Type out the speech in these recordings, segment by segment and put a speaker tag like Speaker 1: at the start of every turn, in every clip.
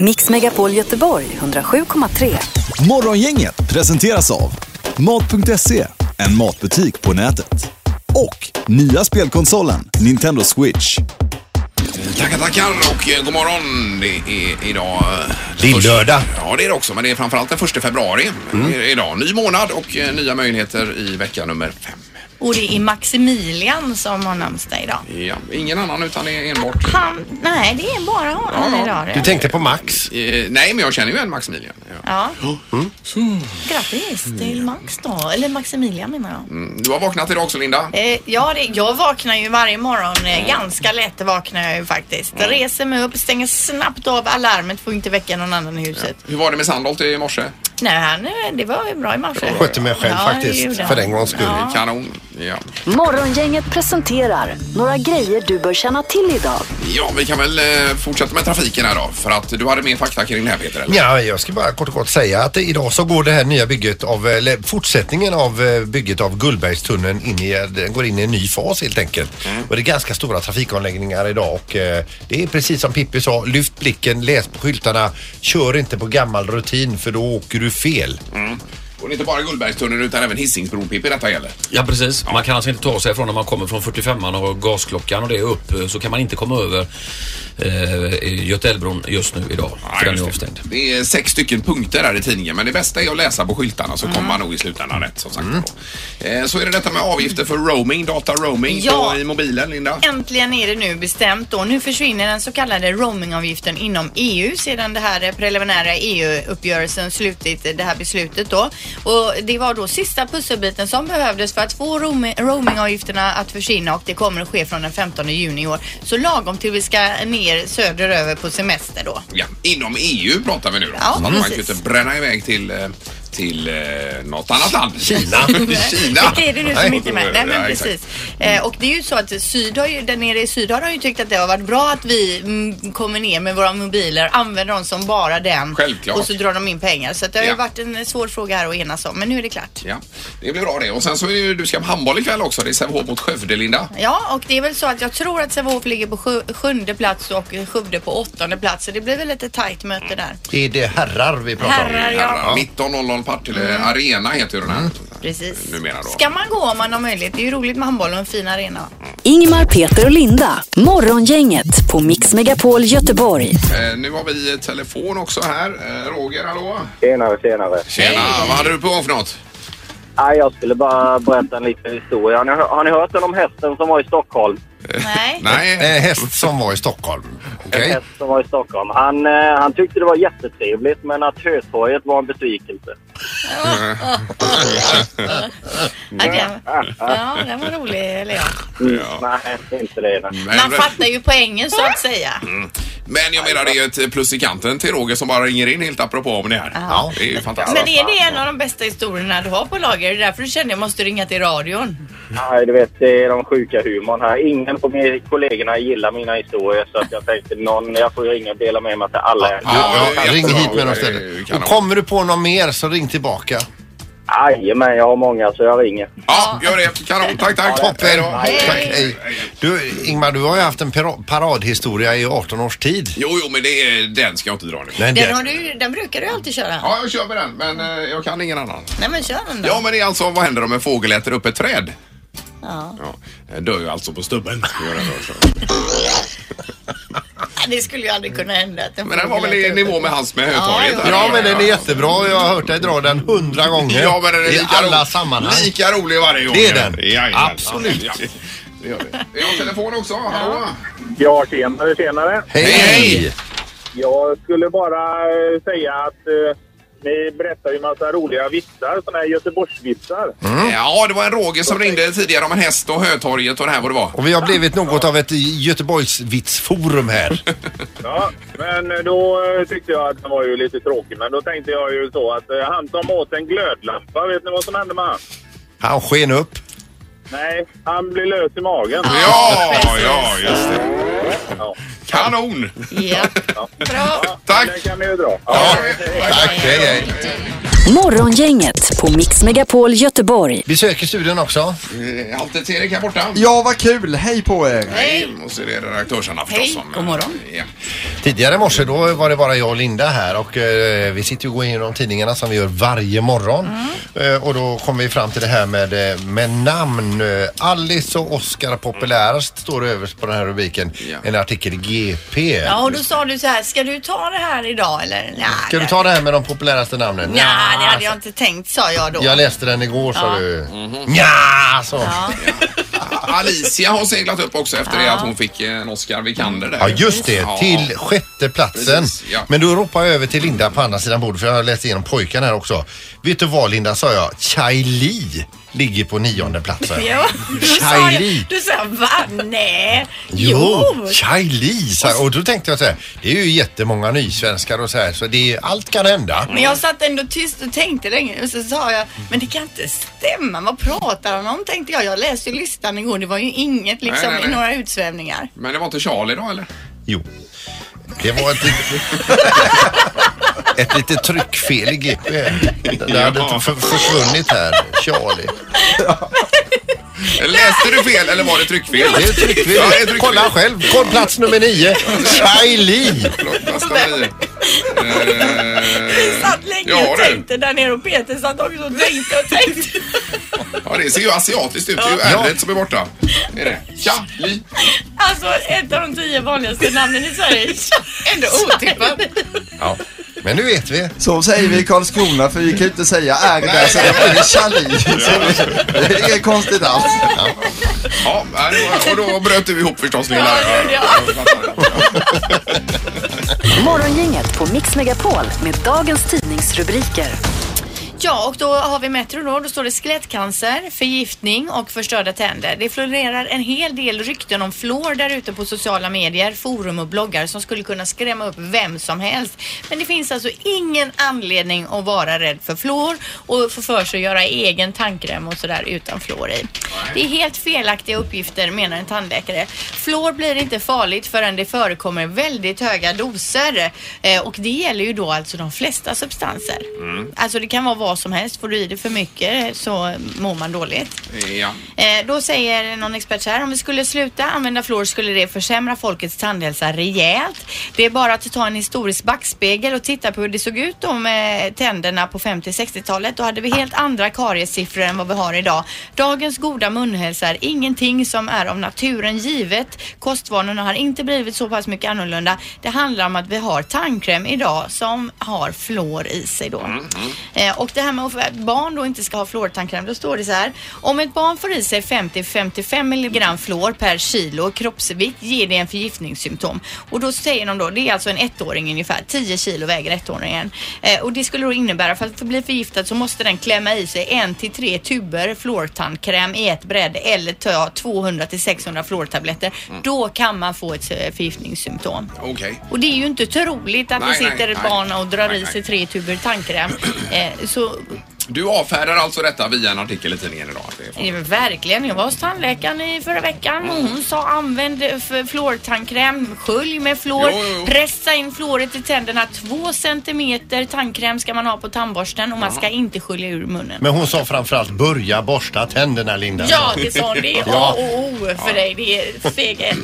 Speaker 1: Mix Megapol Göteborg 107,3.
Speaker 2: Morgongänget presenteras av Mat.se, en matbutik på nätet. Och nya spelkonsolen Nintendo Switch.
Speaker 3: Tackar, tackar och eh, god morgon. Det är idag... eh,
Speaker 4: Det är
Speaker 3: först-
Speaker 4: lördag.
Speaker 3: Ja, det är det också, men det är framförallt den första februari eh, idag. Ny månad och eh, nya möjligheter i vecka nummer fem.
Speaker 5: Och det är Maximilian som har namnsdag idag.
Speaker 3: Ja, ingen annan utan det är enbart...
Speaker 5: Han, nej, det är bara han
Speaker 3: Ja,
Speaker 5: idag.
Speaker 4: Du
Speaker 5: det.
Speaker 4: tänkte på Max.
Speaker 3: Eh, nej, men jag känner ju en Maximilian. Ja.
Speaker 5: Ja.
Speaker 4: Mm.
Speaker 5: Grattis till Max då. Eller Maximilian menar jag.
Speaker 3: Mm, Du har vaknat idag också, Linda.
Speaker 5: Eh, ja, det, jag vaknar ju varje morgon. Eh, ganska lätt vaknar jag ju faktiskt. Reser mig upp, stänger snabbt av alarmet. Får inte väcka någon annan i huset.
Speaker 3: Hur var det med Sandholt i morse?
Speaker 5: Nej, han, eh, det var ju bra i morse.
Speaker 4: Jag skötte mig själv
Speaker 5: Ja, det gjorde
Speaker 4: faktiskt.
Speaker 5: han.
Speaker 4: För en gångs skull.
Speaker 3: Eh, Kanon. Ja.
Speaker 1: Morgongänget presenterar några grejer du bör känna till idag.
Speaker 3: ja, vi kan väl eh, fortsätta med trafiken här då. För att du hade mer fakta kring det här, Peter. Eller?
Speaker 4: Ja, jag ska bara kort och kort säga att idag så går det här nya bygget av, eh, eller fortsättningen av eh, bygget av Gullbergstunneln in i, eh, den går in i en ny fas helt enkelt. Och det är ganska stora trafikanläggningar idag och eh, det är precis som Pippi sa, lyft blicken, läs på skyltarna, kör inte på gammal rutin för då åker du fel.
Speaker 3: Mm. Och det är inte bara Gullbergstunneln utan även Hisingsbron, Pippi, detta gäller.
Speaker 6: Ja precis. Man kan alltså inte ta sig ifrån när man kommer från 45an och gasklockan och det är upp eh, så kan man inte komma över eh, Götaälvbron just nu idag. för den är
Speaker 3: just det.
Speaker 6: avstängd.
Speaker 3: Det är sex stycken punkter här i tidningen men det bästa är att läsa på skyltarna så
Speaker 5: Mm.
Speaker 3: kommer man nog i slutändan rätt som sagt.
Speaker 6: Mm.
Speaker 3: då. Eh, Så är det detta med avgifter för roaming, data roaming
Speaker 5: Ja.
Speaker 3: på, i mobilen Linda.
Speaker 5: Äntligen är det nu bestämt då. Nu försvinner den så kallade roamingavgiften inom EU sedan det här preliminära EU-uppgörelsen slutit det här beslutet då. Och det var då sista pusselbiten som behövdes för att få roam- roamingavgifterna att försvinna och det kommer att ske från den 15 juni i år. Så lagom till vi ska ner söderöver på semester då.
Speaker 3: Ja, inom EU pratar vi nu då.
Speaker 5: Ja,
Speaker 3: så att man kan ju
Speaker 5: precis.
Speaker 3: inte bränna iväg till, eh, till eh, något annat land. Kina. Kina.
Speaker 5: Det är det nu som
Speaker 3: Nej.
Speaker 5: inte är med. Nej, men
Speaker 3: Ja, exakt.
Speaker 5: precis. Eh, och det är ju så att Syd har ju, där nere i Syd har de ju tyckt att det har varit bra att vi mm, kommer ner med våra mobiler, använder dem som bara den
Speaker 3: Självklart.
Speaker 5: och så drar de in pengar. Så att det har
Speaker 3: Ja.
Speaker 5: ju varit en svår fråga här att enas om, men nu är det klart.
Speaker 3: Ja, det blir bra det. Och sen så är det ju, du ska ha handboll ikväll också. Det är Sävehof mot Skövde, Linda.
Speaker 5: Ja, och det är väl så att jag tror att Sävehof ligger på sju, sjunde plats och Skövde på åttonde plats. Så det blir väl lite tajt möte där.
Speaker 4: Är det herrar vi pratar om?
Speaker 5: Herrar, ja. Mm.
Speaker 3: Herrar, 19.00 Partille Arena heter ju den
Speaker 6: Mm.
Speaker 3: här.
Speaker 5: Precis.
Speaker 3: Numera då.
Speaker 5: Ska man gå om man har möjlighet? Det är ju roligt med handboll och en fin arena.
Speaker 1: Ingmar, Peter och Linda. Morgongänget på Mix Megapol Göteborg.
Speaker 3: Eh, nu har vi telefon också här. Eh, Roger, hallå?
Speaker 7: Tjenare, tjenare.
Speaker 3: Tjena, vad hade du på gång för något?
Speaker 7: Nej, jag skulle bara berätta en liten historia. Har ni, har ni hört den om hästen som var i Stockholm?
Speaker 5: Nej.
Speaker 3: Nej.
Speaker 4: Eh, häst som var i Stockholm.
Speaker 7: En
Speaker 4: Okej?
Speaker 7: häst som var i Stockholm. Han, eh, han tyckte det var jättetrevligt, men att Hötorget var en besvikelse.
Speaker 5: Ja, den- ja, den var rolig, eller ja.
Speaker 7: Mm. Nej, inte det. nej.
Speaker 3: Men, Mm,
Speaker 5: Man fattar ju poängen så att säga.
Speaker 3: men jag menar det är ju ett plus i kanten till Roger som bara ringer in helt apropå om det här.
Speaker 4: Ja.
Speaker 3: Det är ju fantastiskt.
Speaker 5: Men är det en av de bästa historierna du har på lager? Det är därför du känner att jag måste ringa till radion.
Speaker 7: Nej, du vet, det är de sjuka humorn här. Ingen på mina kollegorna gillar mina historier, så att jag tänkte någon, jag får ringa och dela med mig till alla.
Speaker 3: Ja,
Speaker 4: Ja,
Speaker 3: det är
Speaker 4: ring
Speaker 3: jättebra.
Speaker 4: hit med dem
Speaker 3: Det är ju
Speaker 4: istället.
Speaker 3: kanon.
Speaker 4: Och kommer du på någon mer så ring tillbaka.
Speaker 7: Jajamän, jag har många, så jag ringer.
Speaker 3: Ja, gör det. Kanon. Tack, tack.
Speaker 4: Toppen!
Speaker 3: Hej då.
Speaker 4: Tack, hej. Du, Ingmar, du har ju haft en para- paradhistoria i 18 års tid.
Speaker 3: Jo, jo, men det är, den ska jag inte dra nu.
Speaker 4: Nej,
Speaker 5: Den, har du, den brukar du alltid köra.
Speaker 3: Ja, jag kör med den, men eh, jag kan ingen annan.
Speaker 5: Nej men kör den då.
Speaker 3: Ja, men det är alltså vad händer om en fågel äter upp ett träd? Ja, den dör ju alltså på stubben. Gör den då, så.
Speaker 5: Det skulle ju aldrig kunna hända. att en
Speaker 3: Men den var
Speaker 5: fågel
Speaker 3: väl i
Speaker 5: äter upp
Speaker 3: nivå
Speaker 5: en-
Speaker 3: med hans med Hötorget?
Speaker 5: Ja,
Speaker 3: där.
Speaker 4: Ja, men den är jättebra. Jag har hört dig dra den hundra gånger.
Speaker 3: Ja, men den är
Speaker 4: I
Speaker 3: lika
Speaker 4: alla
Speaker 3: rolig-
Speaker 4: sammanhang.
Speaker 3: Lika rolig varje gång.
Speaker 4: Det är den.
Speaker 3: Jajamän.
Speaker 4: Absolut.
Speaker 3: Ja, det gör vi. Vi har telefon också. Hallå?
Speaker 7: Ja, tjenare, tjenare.
Speaker 4: Hej!
Speaker 3: Hej!
Speaker 7: Jag skulle bara eh, säga att eh, ni berättar ju massa roliga vitsar, såna här Göteborgsvitsar.
Speaker 3: Mm.
Speaker 4: Mm.
Speaker 3: Ja, det var en Roger som ringde tidigare om en häst och Hötorget och det här vad det var.
Speaker 4: Och vi har blivit något av ett Göteborgsvitsforum här.
Speaker 7: Ja, men då eh, tyckte jag att den var ju lite tråkig, men då tänkte jag ju så att eh, han som åt en glödlampa, vet ni vad som hände med han?
Speaker 4: Han sken upp.
Speaker 7: Nej, han blev lös i magen.
Speaker 3: Ja, ja, just det. Kanon!
Speaker 5: Ja. Bra.
Speaker 3: Tack!
Speaker 7: Den kan ni ju dra.
Speaker 3: Ja,
Speaker 4: Tack, hej, hej.
Speaker 1: Morgongänget på Mix Megapol Göteborg.
Speaker 4: Besök i studion också.
Speaker 3: Eh, Halvtids-Erik här borta.
Speaker 8: Ja, vad kul! Hej på er!
Speaker 3: Hej! Och så är det redaktörsarna förstås.
Speaker 5: Hej,
Speaker 3: som, eh,
Speaker 5: god morgon.
Speaker 3: Ja.
Speaker 4: Tidigare i morse då var det bara jag och Linda här och eh, vi sitter ju och går igenom tidningarna som vi gör varje morgon.
Speaker 5: Mm.
Speaker 4: Eh, och då kom vi fram till det här med, eh, med namn. Eh, Alice och Oscar populärast står överst på den här rubriken.
Speaker 3: Ja.
Speaker 4: En artikel i GP.
Speaker 5: Ja, och då sa du så här, ska du ta det här idag eller? Nej,
Speaker 4: Ska du ta det här med de populäraste namnen? alltså,
Speaker 5: Nej, det hade
Speaker 3: alltså-
Speaker 5: jag inte tänkt sa jag då.
Speaker 4: Jag läste den igår sa du. Nja, så.
Speaker 5: Ja.
Speaker 3: Alicia har seglat upp också efter det att hon fick eh, en Oscar Vikander där.
Speaker 4: Ja just det,
Speaker 3: Ja.
Speaker 4: till sjätte platsen.
Speaker 3: Precis, ja.
Speaker 4: Men då ropar jag över till Linda på andra sidan bordet för jag har läst igenom pojkarna här också. Vet du vad Linda sa jag? Chai Li ligger på nionde platsen.
Speaker 5: Ja, då sa jag,
Speaker 4: Kylie.
Speaker 5: du sa va? Nej.
Speaker 4: Jo, Chai Li. sa jag. Och då tänkte jag så här, det är ju jättemånga nysvenskar och så här så det är, allt kan hända.
Speaker 5: Men jag satt ändå tyst och tänkte länge och så sa jag, men det kan inte stämma. Vad pratar han om? Tänkte jag. Jag läste ju listan igår. Det var ju inget liksom,
Speaker 3: Nej, Mm. nej, nej.
Speaker 5: några utsvävningar.
Speaker 3: Men det var inte Charlie då eller?
Speaker 4: Jo. Det var ett, ett litet tryckfel i GP. Det hade
Speaker 3: Ja.
Speaker 4: för, försvunnit här, Charlie.
Speaker 3: Läste du fel eller var det tryckfel?
Speaker 4: Det är tryckfel.
Speaker 3: Ja, det är tryckfel.
Speaker 4: Kolla själv. Kolla plats nummer nio. Chai Li.
Speaker 3: Förlåt, vad ska vi- Eh,
Speaker 5: Jag satt länge
Speaker 3: ja,
Speaker 5: och
Speaker 3: du.
Speaker 5: tänkte där nere och Peter satt också och tänkte och tänkte.
Speaker 3: Ja, det ser ju asiatiskt ut. Det är ju
Speaker 4: Ja.
Speaker 3: ärret som är borta. Är det? Charlie.
Speaker 5: Alltså ett av de tio vanligaste namnen i Sverige. Ändå otippat.
Speaker 4: Ja. Men nu vet vi.
Speaker 8: Så säger vi i Karlskrona för vi kan ju inte säga är där så det blir Charlie. Det är inget konstigt alls.
Speaker 3: Ja, det var- och då bröt du ihop förstås Linda.
Speaker 5: Ja, det gjorde jag.
Speaker 1: Morgongänget på Mix Megapol med dagens tidningsrubriker.
Speaker 5: Ja, och då har vi Metro då. Då står det skelettcancer, förgiftning och förstörda tänder. Det florerar en hel del rykten om fluor där ute på sociala medier, forum och bloggar som skulle kunna skrämma upp vem som helst. Men det finns alltså ingen anledning att vara rädd för fluor och få för sig att göra egen tandkräm och sådär utan fluor i. Det är helt felaktiga uppgifter menar en tandläkare. Fluor blir inte farligt förrän det förekommer väldigt höga doser eh, och det gäller ju då alltså de flesta substanser. Alltså det kan vara vad som helst. Får du i dig för mycket så mår man dåligt.
Speaker 3: Ja.
Speaker 5: Eh, då säger någon expert så här, om vi skulle sluta använda fluor skulle det försämra folkets tandhälsa rejält. Det är bara att ta en historisk backspegel och titta på hur det såg ut då med tänderna på 50-60-talet. Då hade vi helt andra kariessiffror än vad vi har idag. Dagens goda munhälsa är ingenting som är av naturen givet. Kostvanorna har inte blivit så pass mycket annorlunda. Det handlar om att vi har tandkräm idag som har fluor i sig då. Eh, och det här med att barn då inte ska ha fluortandkräm, då står det så här. Om ett barn får i sig 50-55 milligram fluor per kilo kroppsvikt ger det en förgiftningssymptom. Och då säger de då, det är alltså en ettåring ungefär, 10 kilo väger ettåringen. Eh, och det skulle då innebära, för att bli förgiftad så måste den klämma i sig en till tre tuber fluortandkräm i ett bräde eller ta 200 till 600 fluortabletter. Då kan man få ett eh, förgiftningssymptom.
Speaker 3: Okej.
Speaker 5: Och det är ju inte troligt att
Speaker 3: Nej,
Speaker 5: det sitter
Speaker 3: nej,
Speaker 5: ett
Speaker 3: nej.
Speaker 5: barn och drar
Speaker 3: Nej,
Speaker 5: i
Speaker 3: nej.
Speaker 5: sig tre tuber tandkräm. Eh, så
Speaker 3: Du avfärdar alltså detta via en artikel i tidningen idag? att det är farligt.
Speaker 5: eh, verkligen, jag var hos tandläkaren i förra veckan och hon sa använd eh, f- fluortandkräm, skölj med fluor,
Speaker 3: Jo, jo, jo.
Speaker 5: pressa in fluoret i tänderna. Två centimeter tandkräm ska man ha på tandborsten och man ska inte skölja ur munnen.
Speaker 4: Men hon sa framförallt börja borsta tänderna Linda.
Speaker 5: Ja, det sa hon. Det är
Speaker 4: Ja.
Speaker 5: A och O för dig. Det är steg ett.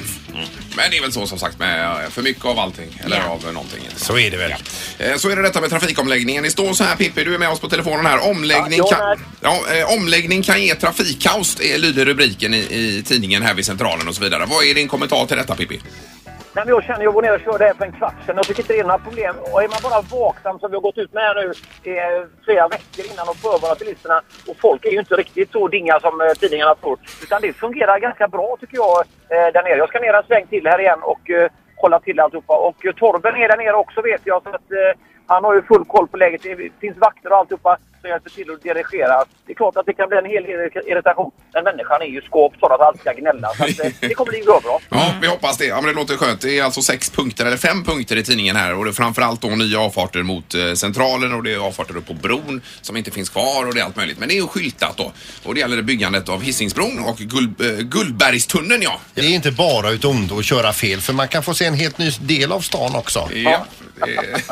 Speaker 3: Men det är väl så som sagt med eh, för mycket av allting. Eller
Speaker 5: Ja.
Speaker 3: av eh, någonting.
Speaker 4: Så är det väl.
Speaker 3: Eh, Så är det detta med trafikomläggningen. Det står så här Pippi, du är med oss på telefonen här. Omläggning,
Speaker 7: Ja, jag är
Speaker 3: kan, ja, eh, omläggning kan ge trafikkaos, eh, lyder rubriken i, i tidningen här vid Centralen och så vidare. Vad är din kommentar till detta Pippi?
Speaker 7: Nej, men jag känner, jag var nere och körde här för en kvart sedan. Jag tycker inte det är några problem. Och är man bara vaksam som vi har gått ut med här nu eh, flera veckor innan och förvarnat bilisterna. Och folk är ju inte riktigt så dinga som eh, tidningarna tror. Utan det fungerar ganska bra tycker jag eh, där nere. Jag ska ner en sväng till här igen och eh, kolla till alltihopa. Och eh, Torben är där nere också vet jag. Så att, eh, han har ju full koll på läget. Det finns vakter och alltihopa som hjälper till att dirigera. Det är klart att det kan bli en hel del irritation. Men människan är ju skåp så att allt ska gnälla. Så att, eh, det kommer bli bra. bra.
Speaker 3: Ja, vi hoppas det. Ja, men det låter skönt. Det är alltså sex punkter, eller fem punkter i tidningen här och det är framförallt då nya avfarter mot eh, Centralen och det är avfarter upp på bron som inte finns kvar och det är allt möjligt. Men det är ju skyltat då. Och det gäller byggandet av Hisingsbron och Gull, eh, Gullbergstunneln ja.
Speaker 4: Det är inte bara ut ont att köra fel för man kan få se en helt ny del av stan också.
Speaker 3: Ja, Det är,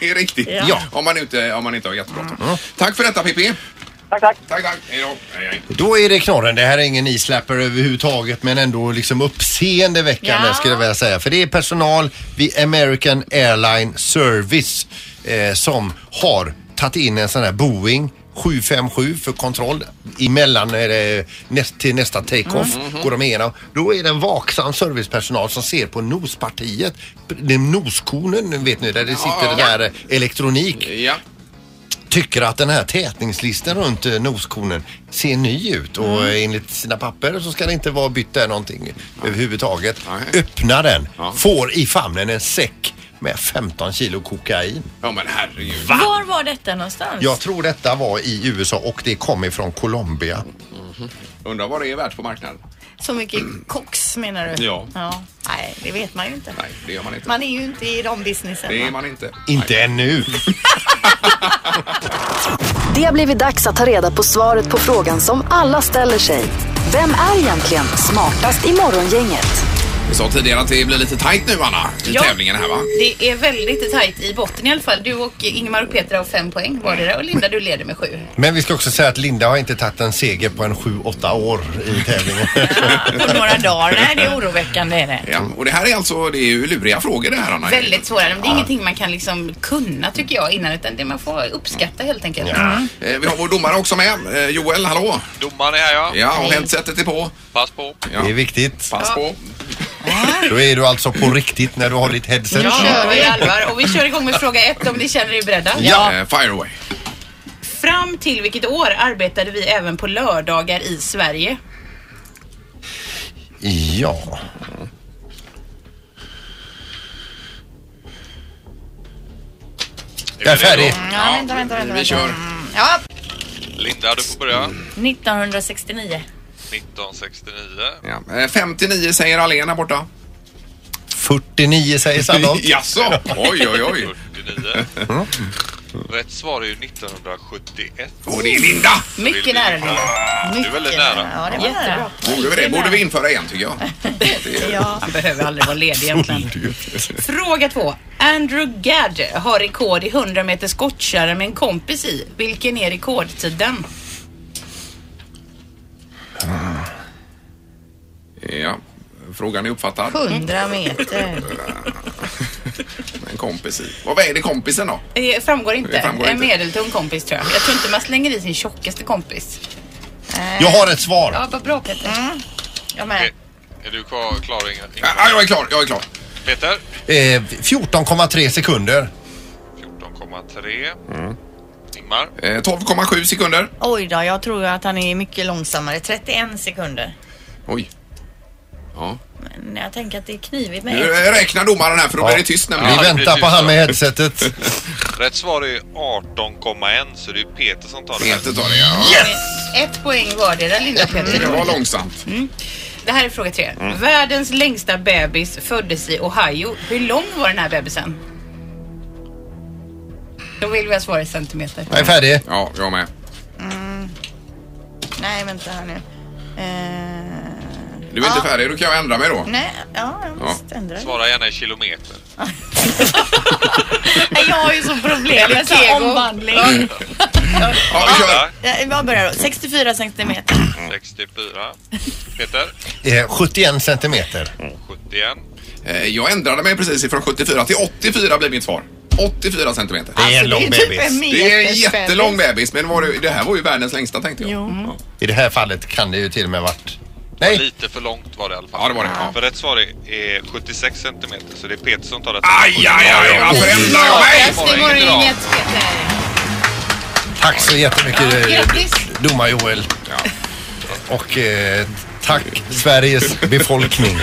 Speaker 3: det är riktigt.
Speaker 5: Ja.
Speaker 3: Om, man inte, om man inte har jättebråttom. Tack för detta Pippi.
Speaker 7: Tack, tack.
Speaker 3: Tack, tack. Hej då. Hej, hej.
Speaker 4: Då är det knorren. Det här är ingen islapper överhuvudtaget men ändå liksom uppseendeväckande
Speaker 5: Ja.
Speaker 4: skulle jag vilja säga. För det är personal vid American Airline Service eh, som har tagit in en sån här Boeing 757 för kontroll emellan eh, näst, till nästa take-off
Speaker 3: Mm, mhm.
Speaker 4: går de igenom. Då är det en vaksam servicepersonal som ser på nospartiet, det är noskonen vet ni där det sitter
Speaker 3: Ja.
Speaker 4: det där eh, elektronik
Speaker 3: Ja.
Speaker 4: tycker att den här tätningslistan runt eh, noskonen ser ny ut och
Speaker 3: Mm.
Speaker 4: eh, enligt sina papper så ska det inte vara bytt där någonting överhuvudtaget.
Speaker 3: Nej.
Speaker 4: Öppnar den,
Speaker 3: Ja.
Speaker 4: får i famnen en säck med 15 kilo kokain.
Speaker 3: ja, men herregud.
Speaker 5: Var var detta någonstans?
Speaker 4: Jag tror detta var i USA och det kom ifrån Colombia.
Speaker 3: Undrar vad det är värt på marknaden.
Speaker 5: Så mycket koks menar du?
Speaker 3: Ja.
Speaker 5: Nej, det vet man ju inte.
Speaker 3: Nej, det gör man inte.
Speaker 5: Man är ju inte i de businessen.
Speaker 3: Det är
Speaker 5: va?
Speaker 3: man inte.
Speaker 4: Inte ännu.
Speaker 1: Det har blivit dags att ta reda på svaret på frågan som alla ställer sig. Vem är egentligen smartast i morgongänget?
Speaker 3: Vi sa tidigare att det blir lite tajt nu Anna, i
Speaker 5: Ja.
Speaker 3: tävlingen här va?
Speaker 5: Det är väldigt tajt i botten i alla fall. Du och Ingemar och Peter har fem poäng var det där och Linda du leder med sju.
Speaker 4: Men vi ska också säga att Linda har inte tagit en seger på en 7-8 år i tävlingen.
Speaker 5: På några dagar. Nej, det är oroväckande är det.
Speaker 3: Ja, och det här är alltså, det är ju luriga frågor det här Anna.
Speaker 5: Väldigt svåra. Men det är ingenting man kan liksom kunna tycker jag innan utan det man får uppskatta helt enkelt.
Speaker 3: Eh, Vi har vår domare också med. Eh, Joel, hallå!
Speaker 9: Domaren är här ja.
Speaker 3: Ja, och
Speaker 5: Hej.
Speaker 3: headsetet är på. Eh,
Speaker 9: Pass på.
Speaker 3: Ja.
Speaker 4: Det är viktigt.
Speaker 3: Pass på.
Speaker 4: Då är du alltså på riktigt när du har ditt headset.
Speaker 5: Nu kör vi i allvar och vi kör igång med fråga ett om ni känner er beredda.
Speaker 4: Ja.
Speaker 3: Eh, Fire away.
Speaker 5: Fram till vilket år arbetade vi även på lördagar i Sverige?
Speaker 4: Ja. Jag är färdig.
Speaker 5: Ja, vänta, vänta, vänta.
Speaker 3: Vi kör.
Speaker 5: Ja,
Speaker 9: Linda du får börja.
Speaker 5: 1969.
Speaker 9: 1969.
Speaker 3: Ja. Eh, 59 säger Alena borta.
Speaker 4: 49 säger Sandholt.
Speaker 3: Jaså? Oj, oj, oj.
Speaker 9: 49. Rätt svar är ju 1971.
Speaker 3: Och det är Linda!
Speaker 5: Mycket nära nu. Mycket
Speaker 9: väldigt nära.
Speaker 5: Ja, det var nära.
Speaker 3: Borde vi, det? Borde vi införa igen tycker jag.
Speaker 5: Han behöver aldrig vara ledig egentligen. Fråga två. Andrew Gadd har rekord i 100 meter skottkärra med en kompis i. Vilken är rekordtiden?
Speaker 3: Ja. Frågan är uppfattad.
Speaker 5: 100 meter.
Speaker 3: En kompis i. Vad är det kompisen då?
Speaker 5: Det Eh, framgår inte.
Speaker 3: Det framgår
Speaker 5: en
Speaker 3: inte.
Speaker 5: medeltung kompis tror jag. Jag tror inte man slänger i sin tjockaste kompis.
Speaker 4: Jag har ett svar.
Speaker 5: Ja, vad bra Peter. Mm. Jag med.
Speaker 9: Okej. Är du kvar, klar Inge?
Speaker 3: Ja, ja, jag är klar, jag är klar.
Speaker 9: Peter?
Speaker 4: Eh, 14,3 sekunder.
Speaker 9: 14,3. Ingmar?
Speaker 3: Eh, 12,7 sekunder.
Speaker 5: Oj då, jag tror att han är mycket långsammare. 31 sekunder.
Speaker 3: Oj. Ja.
Speaker 5: Men jag tänker att det är knivigt
Speaker 3: Nu eh, räknar domaren här för då blir det tyst
Speaker 4: Vi
Speaker 3: nämligen.
Speaker 9: Ja. det blir
Speaker 4: väntar på
Speaker 9: tyst
Speaker 4: han
Speaker 9: då.
Speaker 4: med headsetet.
Speaker 9: Rätt svar är 18,1 så det är Peter som tar det.
Speaker 3: Peter tar det. Ja.
Speaker 5: Ett poäng vardera Linda och Peter.
Speaker 3: Det var långsamt.
Speaker 5: Det här är fråga tre.
Speaker 4: Mm.
Speaker 5: Världens längsta bebis föddes i Ohio. Hur lång var den här bebisen? Då vill vi ha svar i centimeter.
Speaker 4: Jag är färdig.
Speaker 3: Ja, jag med.
Speaker 5: Nej, vänta här nu.
Speaker 3: Du är inte färdig, då kan jag ändra mig då.
Speaker 5: nej, ja, jag
Speaker 3: måste
Speaker 5: ändra
Speaker 9: Svara gärna i kilometer.
Speaker 5: Jag har ju så problem med sån omvandling.
Speaker 3: Ja, vi kör.
Speaker 5: Jag börjar då. 64 centimeter.
Speaker 9: 64. Peter?
Speaker 4: Eh, 71 centimeter.
Speaker 9: 71.
Speaker 3: Eh, Jag ändrade mig precis ifrån 74 till 84 blir mitt svar. 84 centimeter.
Speaker 4: Det är typ en lång
Speaker 5: typ
Speaker 4: bebis.
Speaker 3: Det är en jättelång bebis, men var det, det här var ju världens längsta tänkte jag. Ja.
Speaker 4: I det här fallet kan det ju till och med varit... Nej,
Speaker 9: Lite för långt var det i alla fall.
Speaker 3: Ja, det var det, ja.
Speaker 9: För rätt svar är, är 76 centimeter så det är Peter som tar det.
Speaker 3: Aj, aj, aj, varför ändrar jag mig?
Speaker 5: Det var inget Peter.
Speaker 4: tack så jättemycket eh,
Speaker 5: Grattis.
Speaker 4: domar-Joel. Och eh, tack Sveriges befolkning.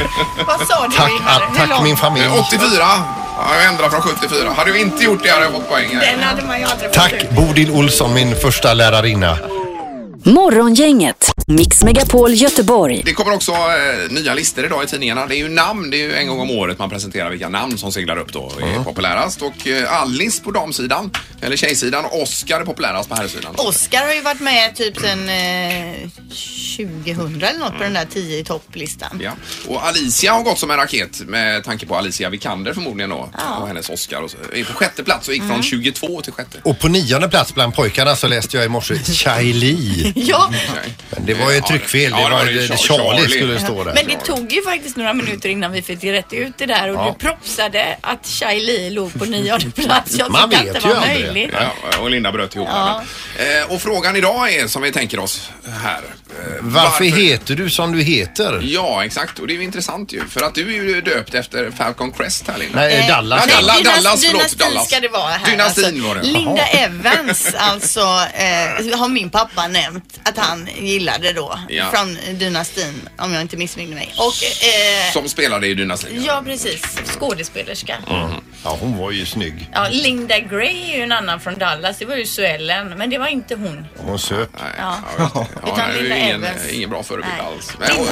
Speaker 5: Vad sa du
Speaker 4: Tack,
Speaker 5: Ingmar?
Speaker 4: all-
Speaker 5: Hur
Speaker 4: tack
Speaker 5: lång-
Speaker 4: min familj.
Speaker 3: Eh, 84. Ja, jag ändrar från 74. Hade jag inte gjort det hade jag fått poäng. här.
Speaker 5: Den hade man ju aldrig fått ut.
Speaker 4: Tack Bodil Olsson, min första lärarinna.
Speaker 1: Morgongänget Mix Megapol Göteborg.
Speaker 3: Det kommer också eh, nya listor idag i tidningarna. Det är ju namn, det är ju en gång om året man presenterar vilka namn som seglar upp då och är populärast. Och eh, Alice på damsidan, eller tjejsidan, Oscar är populärast på herrsidan.
Speaker 5: Oscar har ju varit med typ sedan eh, 2000 eller något på den där 10 i topplistan.
Speaker 3: Ja. Och Alicia har gått som en raket med tanke på Alicia Vikander förmodligen då. Och hennes Oscar. Och så. Är på sjätte plats och gick
Speaker 5: Mm.
Speaker 3: från 22 till sjätte.
Speaker 4: Och på nionde plats bland pojkarna så läste jag i morse Chai Lee.
Speaker 5: Ja,
Speaker 4: Mm. Men det var ju ett tryckfel.
Speaker 3: Ja,
Speaker 4: Det var, det,
Speaker 3: Char-
Speaker 4: Charlie, skulle stå där.
Speaker 5: men det tog ju faktiskt några minuter innan vi fick rätt ut det där och
Speaker 4: Ja.
Speaker 5: du propsade att Shai Li låg på nionde plats. Jag
Speaker 4: Man
Speaker 5: tyckte
Speaker 4: vet
Speaker 5: att det
Speaker 4: ju
Speaker 5: var
Speaker 4: aldrig.
Speaker 5: möjligt.
Speaker 3: Ja, och Linda bröt ihop.
Speaker 5: Ja.
Speaker 3: Men. Eh, och frågan idag är som vi tänker oss här. eh,
Speaker 4: Varför heter du som du heter?
Speaker 3: Ja, exakt. Och det är ju intressant ju. För att du är ju döpt efter Falcon Crest här Linda.
Speaker 4: Nej,
Speaker 5: Eh,
Speaker 4: Dallas.
Speaker 3: Nej, Dallas.
Speaker 5: dynas-
Speaker 3: Dallas, förlåt,
Speaker 5: dynastin
Speaker 3: Dallas.
Speaker 5: ska det vara här. alltså.
Speaker 3: Dynastin var det.
Speaker 5: Linda Evans, alltså, eh, har min pappa nämnt att han gillade då.
Speaker 3: Ja.
Speaker 5: Från dynastin, om jag inte missminner mig. Och, eh,
Speaker 3: Som spelade i Dynastin.
Speaker 5: ja, precis. Skådespelerska.
Speaker 4: Ja, hon var ju snygg.
Speaker 5: Ja, Linda Gray är ju en annan från Dallas. Det var ju Suellen, men det var inte hon.
Speaker 4: Hon söp.
Speaker 3: Nej,
Speaker 5: Ja.
Speaker 3: jag vet inte. ja,
Speaker 5: Utan
Speaker 3: nej, det
Speaker 5: Linda
Speaker 3: är ju ingen,
Speaker 5: Evans.
Speaker 3: ingen bra förebild
Speaker 5: Nej.
Speaker 3: alls. Men, och,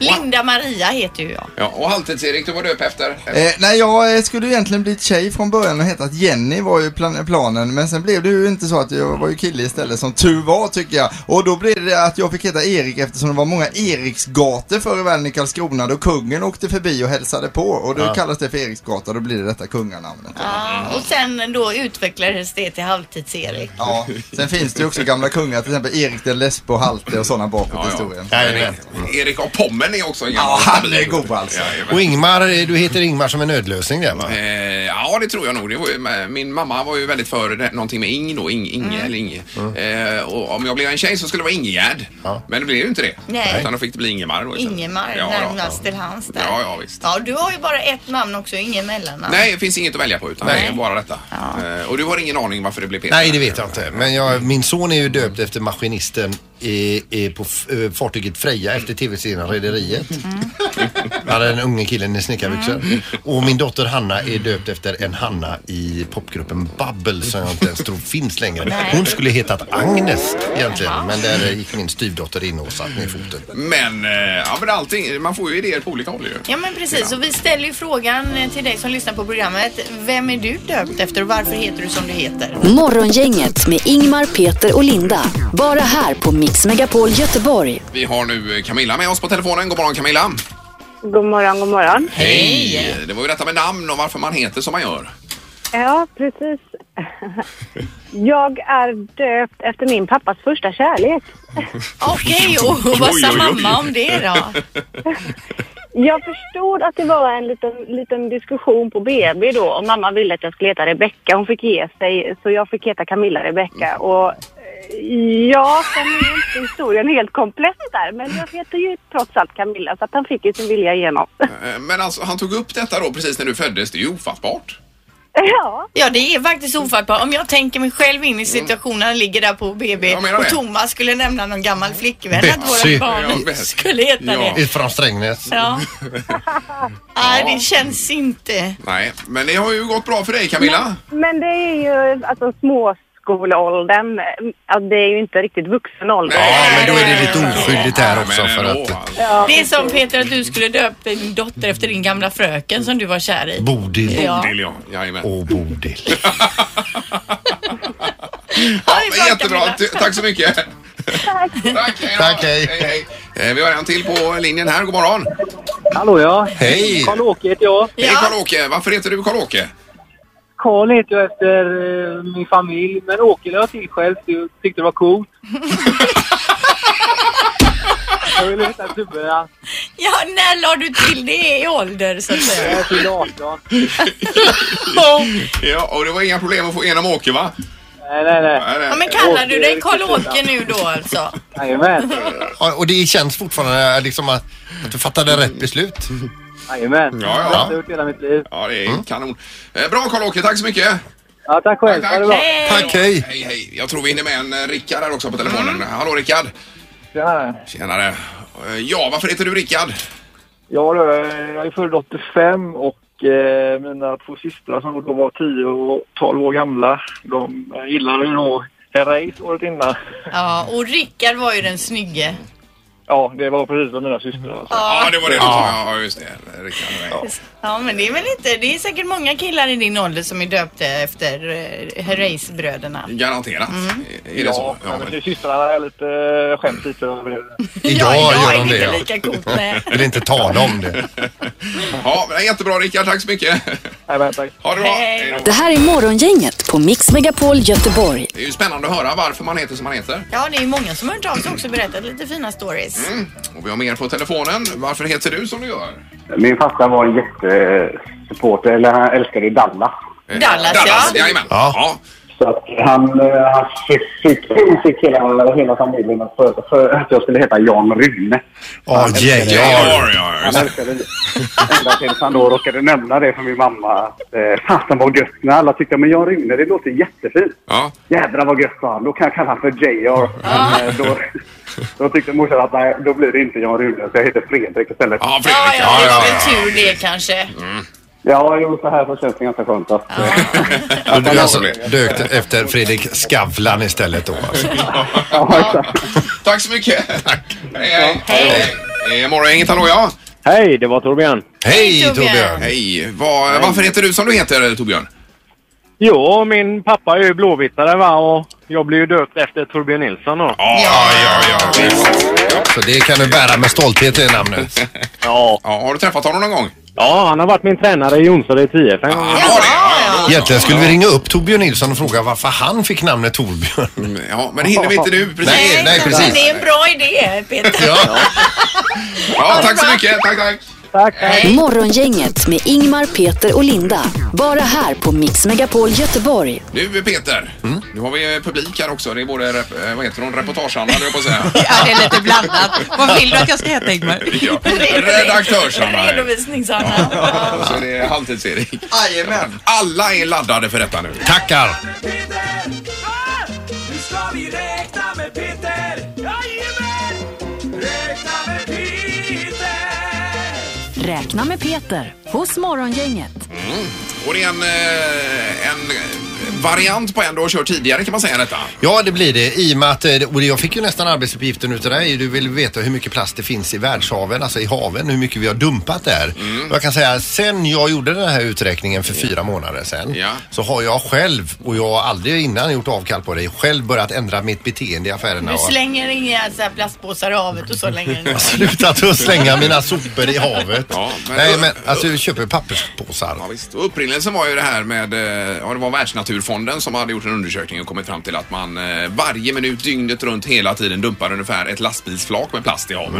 Speaker 5: Linda Maria heter ju jag.
Speaker 3: ja, och Halvtids-Erik, du var döpt efter?
Speaker 8: Eh, nej, jag eh, skulle ju egentligen bli tjej från början och hetat Jenny var ju plan planen, men sen blev det ju inte så att jag var ju kille istället, som tur var tycker jag. Och då blev det att jag fick heta Erik eftersom det var många Eriksgator förr i världen i Karlskrona då kungen åkte förbi och hälsade på och då kallas det för Eriksgata, då blir det detta kunganamnet.
Speaker 5: Ja,
Speaker 3: Ah.
Speaker 5: och sen då utvecklades det till Halvtids-Erik.
Speaker 8: Ja, sen finns det ju också gamla kungar, till exempel Erik den Lesbo, Halte och sådana bakåt
Speaker 3: Ja,
Speaker 8: i
Speaker 3: ja.
Speaker 8: historien.
Speaker 4: Jajamän.
Speaker 3: Erik av Pommern är också en
Speaker 8: Ja,
Speaker 3: gammal
Speaker 8: han är
Speaker 3: stabil.
Speaker 8: god alltså.
Speaker 3: Jajamän.
Speaker 4: Och Ingmar, eh, du heter Ingmar som en nödlösning där va?
Speaker 3: Eh, ja, det tror jag nog. Det var ju, min mamma var ju väldigt för det, någonting med Ing då. Ing, Inge eller Inge. Eh, och om jag blev en tjej så skulle det vara Ingegärd.
Speaker 4: Ja.
Speaker 3: Men det blev ju inte det.
Speaker 5: Nej.
Speaker 3: Utan då fick det bli Ingemar då istället.
Speaker 5: Ingemar, alltså-
Speaker 3: Ja, ja.
Speaker 5: närmast till hans där.
Speaker 3: Ja, ja, visst.
Speaker 5: Ja, du har ju bara ett namn också, inget mellannamn.
Speaker 3: Nej, det finns inget att välja på utan
Speaker 5: Nej.
Speaker 3: det är bara detta. Eh, och du har ingen aning varför det blev Peter?
Speaker 4: Nej, det vet jag inte. Men jag, min son är ju döpt efter maskinisten i, i, på f- eh, fartyget Freja efter tv-serien Rederiet.
Speaker 5: Mm.
Speaker 4: Han hade en unge killen i snickarbyxor. Och min dotter Hanna är döpt efter en Hanna i popgruppen Bubble som jag inte ens tror finns längre.
Speaker 5: Nej.
Speaker 4: Hon skulle hetat Agnes egentligen, men där gick min styvdotter in och satte ner foten.
Speaker 3: Men, eh, ja, men allting, man får ju idéer på olika håll ju.
Speaker 5: Ja men precis och vi ställer ju frågan eh, till dig som lyssnar på programmet. Vem är du döpt efter och varför heter du som du heter?
Speaker 1: Morgongänget med Ingmar, Peter och Linda. Bara här på Mix Megapol Göteborg.
Speaker 3: Vi har nu eh, Camilla med oss på telefonen. God morgon Camilla!
Speaker 10: God morgon, god morgon.
Speaker 3: Hej! Det var ju detta med namn och varför man heter som man gör.
Speaker 10: Ja, precis. Jag är döpt efter min pappas första kärlek.
Speaker 5: Okej, och vad
Speaker 3: Oj,
Speaker 5: sa
Speaker 3: oj, oj.
Speaker 5: mamma om det då?
Speaker 10: Jag förstod att det var en liten, liten diskussion på BB då och mamma ville att jag skulle heta Rebecka. Hon fick ge sig så jag fick heta Camilla Rebecka. Och eh, ja, sen är ju inte historien helt komplett där men jag heter ju trots allt Camilla så att han fick ju sin vilja igenom.
Speaker 3: Eh, Men alltså, han tog upp detta då precis när du föddes. Det är ju ofattbart.
Speaker 10: Ja,
Speaker 5: Ja det är faktiskt ofattbart. Om jag tänker mig själv in i situationen, han ligger där på BB
Speaker 3: Mm. Jag menar
Speaker 5: och
Speaker 3: det.
Speaker 5: Thomas skulle nämna någon gammal flickvän att
Speaker 4: Betsy.
Speaker 5: våra barn
Speaker 3: Ja, Betsy.
Speaker 5: skulle heta
Speaker 3: Ja.
Speaker 5: det.
Speaker 4: Från Strängnäs.
Speaker 5: Ja. Nej, det känns inte.
Speaker 3: Nej, men det har ju gått bra för dig Camilla.
Speaker 10: men det är ju alltså småskolåldern. Ja, det är ju inte riktigt vuxen ålder.
Speaker 4: Ja, men då är det lite oskyldigt här också för att
Speaker 3: alltså.
Speaker 5: Det är som Peter att du skulle döpa din dotter efter din gamla fröken som du var kär i.
Speaker 4: Bodil.
Speaker 5: Ja.
Speaker 3: Vill jag. Jajamän.
Speaker 4: Åh, Bodil.
Speaker 5: Ja, det är bra,
Speaker 3: Jättebra,
Speaker 5: Camilla.
Speaker 3: T- tack så mycket. Tack, hej, då.
Speaker 4: Tack, hej.
Speaker 3: hej, hej. Eh, Vi har en till på linjen här, god morgon.
Speaker 7: Hallå ja.
Speaker 4: Hej!
Speaker 7: Karl-Åke heter jag.
Speaker 3: Hej
Speaker 5: Ja.
Speaker 3: Karl-Åke, varför heter du Karl-Åke?
Speaker 7: Karl heter jag efter eh, min familj, men Åke lade jag till själv för jag tyckte det var coolt. jag ville heta Tubbe.
Speaker 5: Ja, när la du till det i ålder så att säga?
Speaker 7: Jag fyllde 18.
Speaker 3: Ja, och det var inga problem att få igenom Åke va?
Speaker 7: Nej, nej, nej.
Speaker 3: Nej, nej.
Speaker 5: Ja, men kallar du dig Karl-Åke nu då alltså?
Speaker 7: Jajamän.
Speaker 4: Ja, Och det känns fortfarande eh, liksom att att du fattade rätt beslut.
Speaker 7: Jajamän.
Speaker 3: Ja, ja.
Speaker 7: Det har jag gjort hela mitt liv.
Speaker 3: Ja, det är
Speaker 4: Mm.
Speaker 3: kanon. Eh, Bra Karl-Åke, tack så mycket.
Speaker 7: Ja, tack själv.
Speaker 3: Tack,
Speaker 7: Ha det
Speaker 3: tack.
Speaker 7: bra.
Speaker 5: Hej!
Speaker 4: Tack, hej!
Speaker 3: Hej, hej. Jag tror vi hinner med en eh, Rickard här också på telefonen. Hallå Rickard.
Speaker 7: Tjena.
Speaker 3: Tjenare. Eh, Ja, varför heter du Rickard?
Speaker 7: Ja, då, eh, jag är född 85 och eh, mina två systrar som då var 10 och 12 år gamla, de eh, gillade ju då en race året innan.
Speaker 5: Ja, och Rickard var ju den snygge.
Speaker 7: Ja, det var precis som mina systrar. Alltså.
Speaker 3: Ja, det var det. Ja, ja just det. Rickard. Ja.
Speaker 5: Ja, men det är väl inte... Det är säkert många killar i din ålder som är döpta efter eh, Herreys-bröderna.
Speaker 3: Garanterat.
Speaker 5: Mm.
Speaker 3: Är det så?
Speaker 7: Ja,
Speaker 3: Ja,
Speaker 7: men
Speaker 3: men...
Speaker 7: systrarna är lite, eh, skäms lite över det.
Speaker 4: Idag
Speaker 5: ja,
Speaker 4: gör de
Speaker 5: är
Speaker 4: det,
Speaker 5: inte
Speaker 4: ja.
Speaker 5: lika coolt med.
Speaker 4: Vill inte tala om det.
Speaker 3: ja, men jättebra Rickard. Tack så mycket.
Speaker 7: Nej, men tack.
Speaker 3: Ha det bra.
Speaker 5: Hej.
Speaker 3: Hej då.
Speaker 1: Det här är Morgongänget på Mix Megapol Göteborg.
Speaker 3: Det är ju spännande att höra varför man heter som man heter.
Speaker 5: Ja, det är ju många som har hört av sig också och berättat lite fina stories.
Speaker 3: Och vi har mer på telefonen. Varför heter du som du gör?
Speaker 7: Min farsa var en jättesupporter, eller han älskade Dallas.
Speaker 3: Eh,
Speaker 5: Dallas, ja.
Speaker 3: Dallas jajamän.
Speaker 4: Ja.
Speaker 3: Ja.
Speaker 7: Så att han, eh, han fick, fick, fick hela, hela familjen att för, för att jag skulle heta Jan Rune.
Speaker 4: Ja, JR.
Speaker 3: Ja, ja,
Speaker 7: Han
Speaker 3: just det.
Speaker 7: älskade det. Ända tills han då råkade nämna det för min mamma. Eh, Fasen vad gött när alla tyckte men Jan Rune det låter jättefint.
Speaker 3: Ja.
Speaker 7: Jädrar vad gött sa han. Då kan jag kalla han för JR. Men, eh, då, då tyckte morsan att nej, då blir det inte Jan Rune så jag heter Fredrik istället.
Speaker 3: ja,
Speaker 5: Ja,
Speaker 3: Fredrik.
Speaker 5: ja,
Speaker 3: Ja,
Speaker 5: det
Speaker 3: ja,
Speaker 5: var väl tur det kanske.
Speaker 7: Ja, jo så här så känns det ganska skönt. Att,
Speaker 3: ja.
Speaker 4: Du alltså
Speaker 3: roligt.
Speaker 4: dök efter Fredrik Skavlan istället då alltså.
Speaker 7: ja, exakt.
Speaker 3: Tack så mycket. Tack. Hej,
Speaker 5: Hej.
Speaker 3: hej. hej. Eh, Morgongänget, hallå ja.
Speaker 7: Hej, det var Torbjörn.
Speaker 4: Hej
Speaker 5: Torbjörn.
Speaker 4: Torbjörn!
Speaker 3: Hej. Va, varför heter du som du heter Torbjörn?
Speaker 7: Jo, min pappa är ju blåvittare va och jag blev ju döpt efter Torbjörn Nilsson då.
Speaker 3: Ja, ja, ja.
Speaker 4: Så det kan du bära med stolthet i namnet.
Speaker 7: Ja.
Speaker 3: ja har du träffat honom någon gång?
Speaker 7: ja, han har varit min tränare i Jonsered IF en gång.
Speaker 3: Ja, har det. Ja, ja.
Speaker 4: Egentligen skulle vi ringa upp Torbjörn Nilsson och fråga varför han fick namnet Torbjörn.
Speaker 3: Mm, ja, men det hinner vi inte nu. Precis.
Speaker 4: Nej. precis.
Speaker 5: men Det är en bra idé, Peter.
Speaker 3: Ja, tack så mycket. Tack, tack.
Speaker 7: Tack.
Speaker 1: Morgongänget med Ingmar, Peter och Linda. Bara här på Mix Megapol Göteborg.
Speaker 3: Nu Peter, nu har vi eh, publik här också. Det är både rep, eh, vad heter hon? reportage-Anna, höll jag på att säga.
Speaker 11: Ja, det är lite blandat. Vad vill du att jag ska heta Ingmar?
Speaker 3: Ja. Redaktörs-Anna. eh.
Speaker 5: Redovisnings-Anna.
Speaker 3: Och Så är det halvtids-Erik.
Speaker 8: Jajamän.
Speaker 3: Alla är laddade för detta nu.
Speaker 4: Tackar!
Speaker 1: Räkna med Peter hos Morgongänget.
Speaker 3: Och det är en, eh, en variant på en du har kört tidigare kan man säga detta.
Speaker 4: Ja, det blir det. I och med att, eh, och jag fick ju nästan arbetsuppgiften utav dig. Du vill veta hur mycket plast det finns i världshaven, alltså i haven, hur mycket vi har dumpat där.
Speaker 3: Mm.
Speaker 4: Och Jag kan säga, sen jag gjorde den här uträkningen för fyra månader sedan,
Speaker 3: Ja.
Speaker 4: så har jag själv, och jag har aldrig innan gjort avkall på det, själv börjat ändra mitt beteende i affärerna.
Speaker 5: Du
Speaker 4: och-
Speaker 5: slänger inga så här plastpåsar i havet och så länge.
Speaker 4: Slutat att slänga mina sopor i havet.
Speaker 3: Ja, men-
Speaker 4: Nej, men alltså du köper papperspåsar.
Speaker 3: Ja, visst. Och upprinnelsen var ju det här med, eh, ja det var Världsnaturfonden som hade gjort en undersökning och kommit fram till att man eh, varje minut dygnet runt hela tiden dumpar ungefär ett lastbilsflak med plast i haven.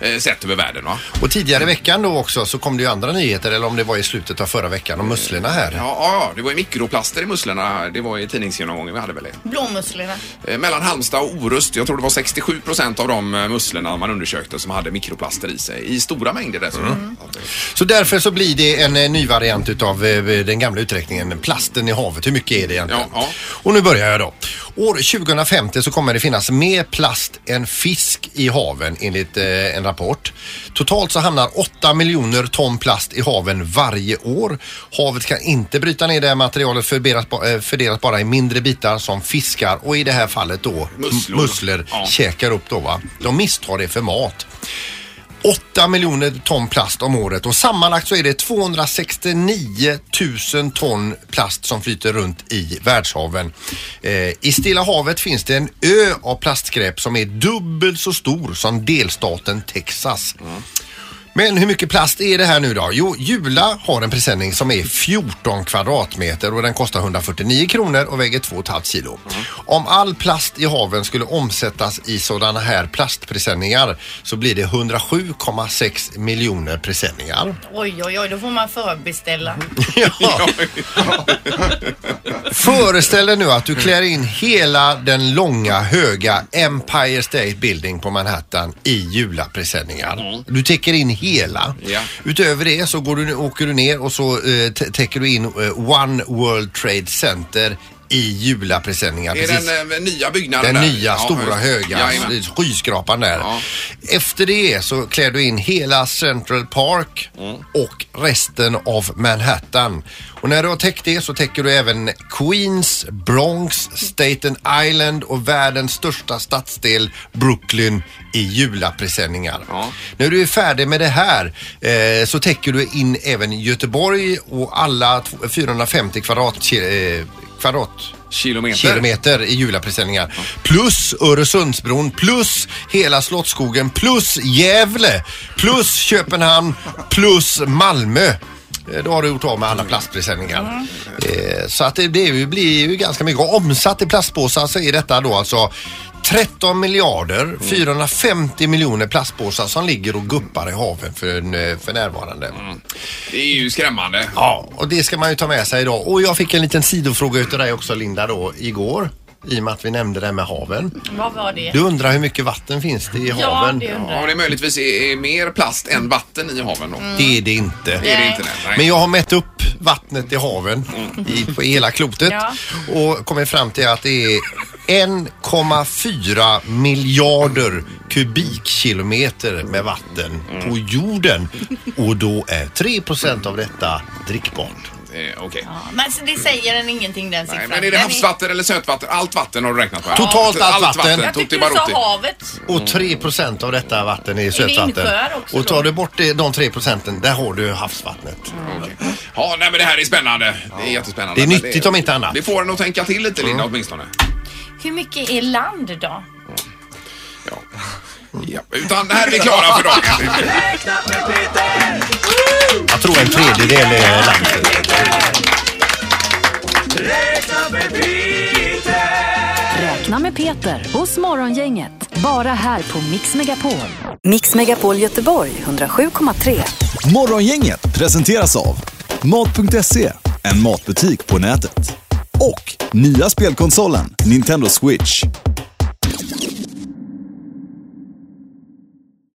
Speaker 4: Mm.
Speaker 3: eh, Sett över världen va?
Speaker 4: Och tidigare i veckan då också så kom det ju andra nyheter, eller om det var i slutet av förra veckan, om musslorna här.
Speaker 3: Ja, ja, det var ju mikroplaster i musslorna. Det var ju tidningsgenomgången vi hade väl det.
Speaker 5: Blåmusslorna.
Speaker 3: Eh, Mellan Halmstad och Orust, jag tror det var 67 procent av de eh, musslorna man undersökte som hade mikroplaster i sig. I stora mängder dessutom.
Speaker 4: Mm.
Speaker 3: Att, eh,
Speaker 4: Så därför så blir det en eh, ny variant utav eh, den gamla uträkningen, plasten i havet. Hur mycket är det egentligen?
Speaker 3: Ja, ja.
Speaker 4: Och nu börjar jag då. År 2050 så kommer det finnas mer plast än fisk i haven enligt eh, en rapport. Totalt så hamnar 8 miljoner ton plast i haven varje år. Havet kan inte bryta ner det här materialet fördelat, ba- eh, fördelat bara i mindre bitar som fiskar och i det här fallet då
Speaker 3: Musslor.
Speaker 4: m- musslor
Speaker 3: Ja.
Speaker 4: käkar upp då va. De misstar det för mat. 8 miljoner ton plast om året och sammanlagt så är det 269 000 ton plast som flyter runt i världshaven. Eh, I Stilla havet finns det en ö av plastskräp som är dubbelt så stor som delstaten Texas. Men hur mycket plast är det här nu då? Jo, Jula har en presenning som är 14 kvadratmeter och den kostar 149 kronor och väger 2,5 kilo. Om all plast i haven skulle omsättas i sådana här plastpresenningar så blir det 107,6 miljoner presenningar.
Speaker 5: Oj, oj, oj, då får man förbeställa.
Speaker 4: Ja. Föreställ dig nu att du klär in hela den långa höga Empire State Building på Manhattan i julapresenningar. Du täcker in hela.
Speaker 3: Mm. Ja.
Speaker 4: Utöver det så går du, åker du ner och så eh, tä- täcker du in eh, One World Trade Center i julapresenningar.
Speaker 3: Det är
Speaker 4: precis.
Speaker 3: den eh, nya byggnaden
Speaker 4: Den
Speaker 3: där.
Speaker 4: nya
Speaker 3: Ja,
Speaker 4: stora
Speaker 3: just-
Speaker 4: höga
Speaker 3: Jajamän.
Speaker 4: skyskrapan där. Efter det så klär du in hela Central Park
Speaker 3: Mm.
Speaker 4: och resten av Manhattan. Och när du har täckt det så täcker du även Queens, Bronx, Staten Island och världens största stadsdel Brooklyn i julapresenningar. När du är färdig med det här eh, så täcker du in även Göteborg och alla t- 450 kvadrat, eh, kvadrat
Speaker 3: Kilometer.
Speaker 4: kilometer i julapresenningar. Plus Öresundsbron, plus hela Slottsskogen, plus Gävle, plus Köpenhamn, plus Malmö. Eh, Då har du gjort av med alla plastpresenningar. Eh, Så att det blir ju, blir ju ganska mycket. Och Omsatt i plastpåsar så är detta då alltså 13 miljarder 450 miljoner plastpåsar som ligger och guppar i haven för, eh, för närvarande.
Speaker 3: Det är ju skrämmande.
Speaker 4: Ja, och det ska man ju ta med sig idag. Och jag fick en liten sidofråga utav dig också Linda då igår. I och med att vi nämnde det här med haven.
Speaker 5: Vad var det?
Speaker 4: Du undrar hur mycket vatten finns det i
Speaker 5: Ja,
Speaker 4: haven?
Speaker 5: det undrar
Speaker 3: Ja, om det möjligtvis är, är mer plast än vatten i haven då.
Speaker 4: Det är det inte.
Speaker 3: Det är det inte. Nej. Nej.
Speaker 4: Men jag har mätt upp vattnet i haven i, på hela klotet
Speaker 5: Ja.
Speaker 4: och kommit fram till att det är 1,4 miljarder kubikkilometer med vatten på jorden och då är 3 av detta drickbart.
Speaker 3: Eh, Okej.
Speaker 5: Men så det säger den ingenting den
Speaker 3: typ Nej,
Speaker 5: siffran.
Speaker 3: men är det
Speaker 5: Den
Speaker 3: havsvatten eller sötvatten? Allt vatten har du räknat på? här.
Speaker 4: Totalt allt vatten.
Speaker 5: Jag
Speaker 3: Tutti
Speaker 5: tyckte du
Speaker 3: Barotti.
Speaker 5: sa havet.
Speaker 4: Och 3 av detta vatten är sötvatten.
Speaker 5: insjöar också
Speaker 4: Och tar
Speaker 5: då?
Speaker 4: du bort det, de 3 procenten, där har du havsvattnet.
Speaker 3: Ja, nej men det här är spännande. Det är jättespännande.
Speaker 4: Det är
Speaker 3: Men
Speaker 4: nyttigt om inte annat. Mm.
Speaker 3: Det får en att tänka till lite Linda åtminstone.
Speaker 5: Hur mycket är land då?
Speaker 3: Ja. Utan det här är vi klara för dagen.
Speaker 4: Jag tror en tredjedel är landet.
Speaker 1: Räkna med Peter hos Morgongänget. Bara här på Mix Megapol. Mix Megapol Göteborg 107,3.
Speaker 2: Morgongänget presenteras av Mat.se, en matbutik på nätet. Och nya spelkonsolen Nintendo Switch.